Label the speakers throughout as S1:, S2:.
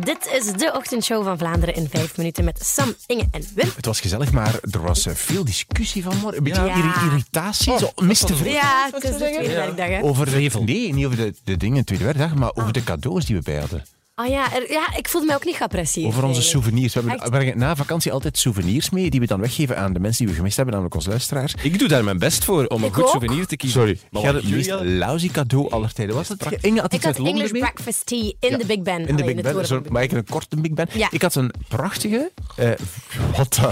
S1: Dit is de ochtendshow van Vlaanderen in vijf minuten met Sam, Inge en Wim.
S2: Het was gezellig, maar er was eh, veel discussie vanmorgen. Een beetje
S1: Ja. Oh,
S2: irri- irritatie, zo mistevreemd.
S1: Ja, het is de tweede werkdag, hè?
S2: Over de, nee, niet over de, de dingen, tweede werkdag, maar over de cadeaus die we bij hadden.
S1: Oh ja, er- ja, ik voelde mij ook niet geapprecieerd.
S2: Over onze
S1: eigenlijk.
S2: souvenirs. We hebben
S1: Echt?
S2: we brengen na vakantie altijd souvenirs mee die we dan weggeven aan de mensen die we gemist hebben, namelijk onze luisteraars.
S3: Ik doe daar mijn best voor om een
S1: Ik
S3: goed
S1: ook.
S3: souvenir te kiezen.
S2: Sorry,
S3: Maar
S2: ik had
S3: wat
S2: het meest
S3: jullie hadden-
S2: lousy cadeau aller tijden. Was dat? Inge
S1: Ik
S2: had
S1: had
S2: iets uit Londen
S1: English
S2: mee.
S1: breakfast tea in de Big Ben.
S2: In de
S1: Allee,
S2: Big
S1: het
S2: Ben,
S1: horen
S2: zo,
S1: van de
S2: maar ik een korte Big Ben.
S1: Ja.
S2: Ik had een prachtige, eh, wat eh,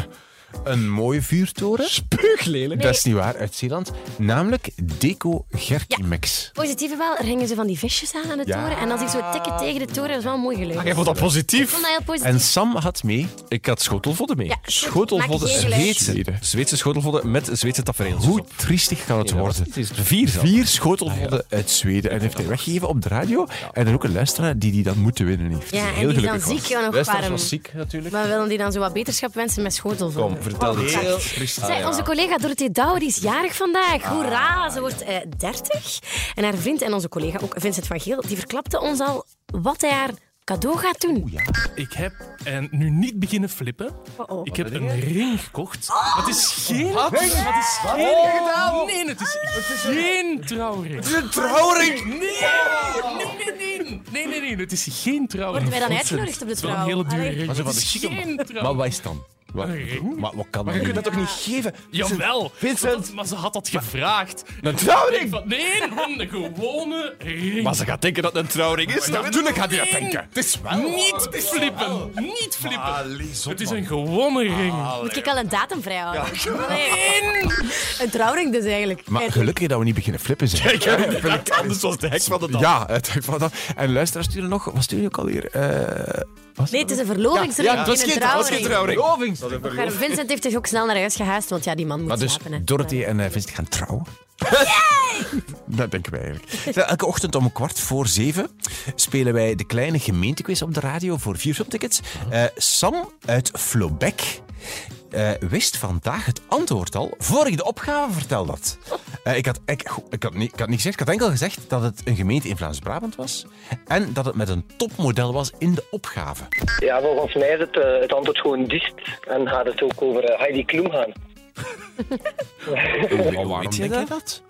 S2: een mooie vuurtoren.
S3: Puuglelijk.
S2: Dat is niet waar, uit Zeeland. Namelijk Deco Gerkimex.
S1: Positieve wel, er hingen ze van die visjes aan aan de
S2: Ja.
S1: toren. En als ik zo tikken tegen de toren, dat was wel mooi gelegen.
S3: Jij
S1: ik
S3: vond dat positief.
S1: vond dat heel positief.
S2: En Sam had mee
S3: Ik had schotelvodden mee.
S1: Ja,
S3: schotelvodden,
S1: maakt geen geluid.
S3: Zweedse. Zweedse schotelvodden met Zweedse tafereel.
S2: hoe triestig kan het worden.
S3: Het is vier zelfs. Ah,
S2: Vier schotelvodden uit Zweden. En heeft hij weggegeven op de radio. En dan ook een luisteraar die die dan moeten winnen heeft.
S1: Ja, en
S2: Heel
S1: die dan
S2: gelukkig
S1: ziek ja, nog
S3: Luisteraars
S1: warm.
S3: was ziek natuurlijk.
S1: Maar willen die dan zo wat beterschap wensen met schotelvorm?
S3: Kom, vertel dit.
S1: Heel Ah, Zeg,
S3: ja.
S1: Onze collega Dorothee Douwer die is jarig vandaag. Hoera, ze wordt eh 30. En haar vriend en onze collega, ook Vincent van Geel, die verklapte ons al wat hij haar cadeau gaat doen.
S4: Ik heb, en nu niet beginnen flippen,
S1: Oh, oh.
S4: ik heb een ring gekocht. Het is geen... Het is geen...
S3: Oh,
S4: Nee, het is geen trouwring. Oh. Het is een trouwring! Nee! Nee, nee, nee. Nee, nee, nee. Het is geen trouwring.
S1: Worden wij dan uitgenodigd op de
S4: Het is wel
S1: trouw?
S4: een hele
S1: Allee.
S4: dure ring.
S2: Maar zo van
S4: Het
S2: de
S4: is
S2: chique
S4: geen
S2: Maar
S4: trouwring.
S2: wat is het dan? Wat,
S4: Een ring?
S2: Maar wat kan
S3: Maar je kunt
S2: dan?
S3: dat toch niet geven?
S4: Jawel.
S2: Vincent.
S4: Dat- Maar ze had dat gevraagd.
S3: Een trouwring!
S4: Van, nee, van de gewone ring.
S3: Maar ze gaat denken dat het een trouwring is.
S4: dat
S3: Natuurlijk gaat hij dat
S4: ring.
S3: denken. Het is wel.
S4: Niet flippen. Niet flippen. Het is een gewone
S2: Ah.
S4: ring.
S1: Moet ik al een datum vrijhouden? Nee. Een trouwring dus eigenlijk.
S2: Maar gelukkig dat we niet beginnen flippen zijn.
S3: Anders was de hek van de dag.
S2: Ja, het heeft wat af. En luisteraars sturen nog, wat sturen ook alweer? Eh was
S1: Nee, het is een verlovingsring,
S3: Ja, het was
S1: geen
S3: geen
S1: een trouwring.
S3: het was geen trouwring.
S1: Maar Vincent heeft zich ook snel naar huis gehuist, want ja, die man moet
S2: Maar dus
S1: slapen. hè.
S2: Dorothy en eh, Vincent gaan trouwen. Dat denken wij eigenlijk. Zo, Elke ochtend om kwart voor zeven spelen wij de kleine gemeentequiz op de radio voor vier subtickets. Eh, Sam uit Flobeck eh, wist vandaag het antwoord al voor ik de opgave vertelde. had. Eh, ik, had, ik, goh, ik, had niet, ik had niet gezegd, ik had enkel gezegd dat het een gemeente in Vlaams-Brabant was en dat het met een topmodel was in de opgave.
S5: Ja, volgens mij is het, eh, het antwoord gewoon diest. En gaat het ook over eh, Heidi Kloem gaan.
S3: waarom
S2: Weet je dat? dat?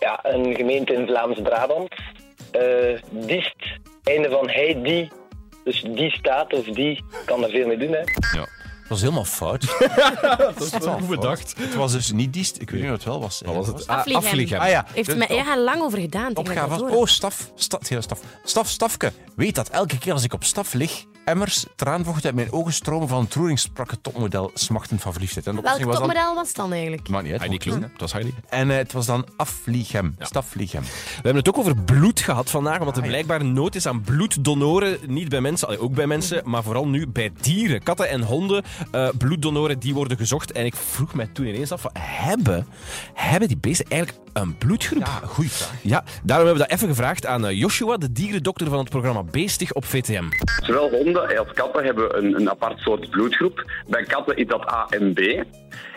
S5: Ja, een gemeente in Vlaams-Brabant. Eh, diest, einde van Heidi. Dus die staat of die kan er veel mee doen, hè.
S2: Het was helemaal fout. dat is wel
S3: goed bedacht.
S2: Het was dus niet diest, ik weet niet wat het wel was. Wat
S3: was het?
S1: Afliegen.
S2: Ah ja,
S1: Heeft er mij ja, lang over gedaan. tegen dat
S2: opgave was...
S1: ik dat
S2: Oh,
S1: hoorde.
S2: staf, staf, ja, staf, staf, stafke. Weet dat elke keer als ik op staf lig, emmers, traanvocht uit mijn ogen stromen van troering sprak het topmodel smachtend van verliefdheid. En de
S1: Welk
S2: oplossing was dan...
S1: topmodel was het dan eigenlijk?
S2: Maakt niet uit.
S3: Heidi Kloen, dat was Heidi.
S2: En eh, het was dan afvliegem, stafvliegem.
S3: We hebben het ook over bloed gehad vandaag,
S2: Ah,
S3: omdat er blijkbaar nood is aan bloeddonoren. Niet bij mensen, allee, ook bij mensen, maar vooral nu bij dieren. Katten en honden, eh, bloeddonoren, die worden gezocht. En ik vroeg mij toen ineens af, van, hebben, hebben die beesten eigenlijk een bloedgroep? Ja,
S2: goeie vraag.
S3: daarom hebben we dat even gevraagd aan eh, Joshua, de dierendokter van het programma Beestig op VTM.
S6: Zowel honden als katten hebben een, een apart soort bloedgroep. Bij katten is dat A en B.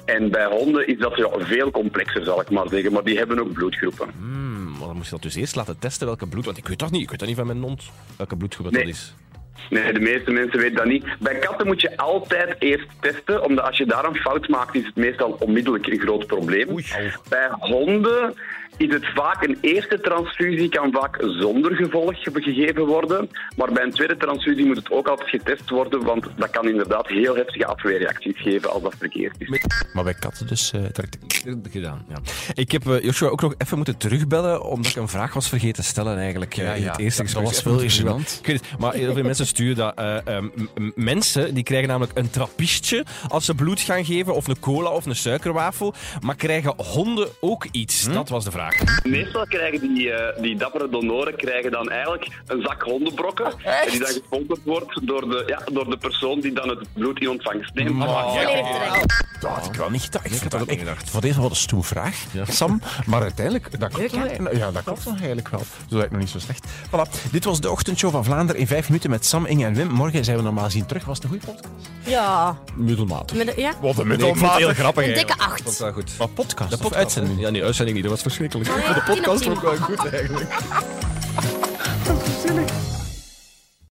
S6: En bij honden is dat ja, veel complexer, zal ik maar zeggen. Maar die hebben ook bloedgroepen.
S3: Hmm, maar dan moest je dat dus eerst laten testen welke bloed... Want ik weet dat niet, ik weet dat niet van mijn hond, welke bloedgroep dat
S6: Nee.
S3: is.
S6: Nee, de meeste mensen weten dat niet. Bij katten moet je altijd eerst testen, omdat als je daar een fout maakt, is het meestal onmiddellijk een groot probleem. Bij honden is het vaak een eerste transfusie, kan vaak zonder gevolg gegeven worden. Maar bij een tweede transfusie moet het ook altijd getest worden, want dat kan inderdaad heel heftige afweerreacties geven als dat verkeerd is.
S2: Maar bij katten dus eh direct...
S3: gedaan. Ja. Ik heb eh, Joshua ook nog even moeten terugbellen, omdat ik een vraag was vergeten te stellen eigenlijk. eh,
S2: Ja,
S3: in
S2: ja.
S3: het eerste
S2: Dat-
S3: gesprek.
S2: dat was
S3: Even moeten
S2: wel
S3: terugbellen.
S2: gênant.
S3: Ik weet het, maar heel veel mensen sturen dat. eh, eh, m- m- mensen die krijgen namelijk een trappistje als ze bloed gaan geven, of een cola of een suikerwafel. Maar krijgen honden ook iets?
S2: Hm?
S3: Dat was de vraag.
S6: Meestal krijgen die, eh, die dappere donoren krijgen dan eigenlijk een zak hondenbrokken. en die dan gesponsord wordt door de, ja, door de persoon die dan het bloed in ontvangst neemt.
S1: Volledig terecht.
S2: Dat had ik wel niet gedacht. Ik, had dat
S3: ook niet
S2: gedacht. Voor deze wat een stoem vraag, Sam. Maar uiteindelijk, dat klopt,
S1: Leuk, hè?
S2: wel, ja, dat klopt wel eigenlijk wel. Zo lijkt nog niet zo slecht. Voilà, dit was de ochtendshow van Vlaanderen in vijf minuten met Sam, Inge en Wim. Morgen zijn we normaal gezien terug. Was het een goede podcast?
S1: Ja.
S3: Middelmatig.
S1: Met, ja.
S2: Wat een
S3: Nee, ik vond het heel grappig.
S1: Een dikke
S3: eigenlijk.
S1: acht.
S3: Ik vond het wel goed.
S2: Wat podcast?
S3: De
S2: of
S3: podcast,
S2: uitzending?
S3: hè? Ja, nee, uitzending niet. Dat was verschrikkelijk.
S1: Nee,
S3: de
S1: tien op
S3: podcast
S1: tien.
S3: vond ik wel goed eigenlijk.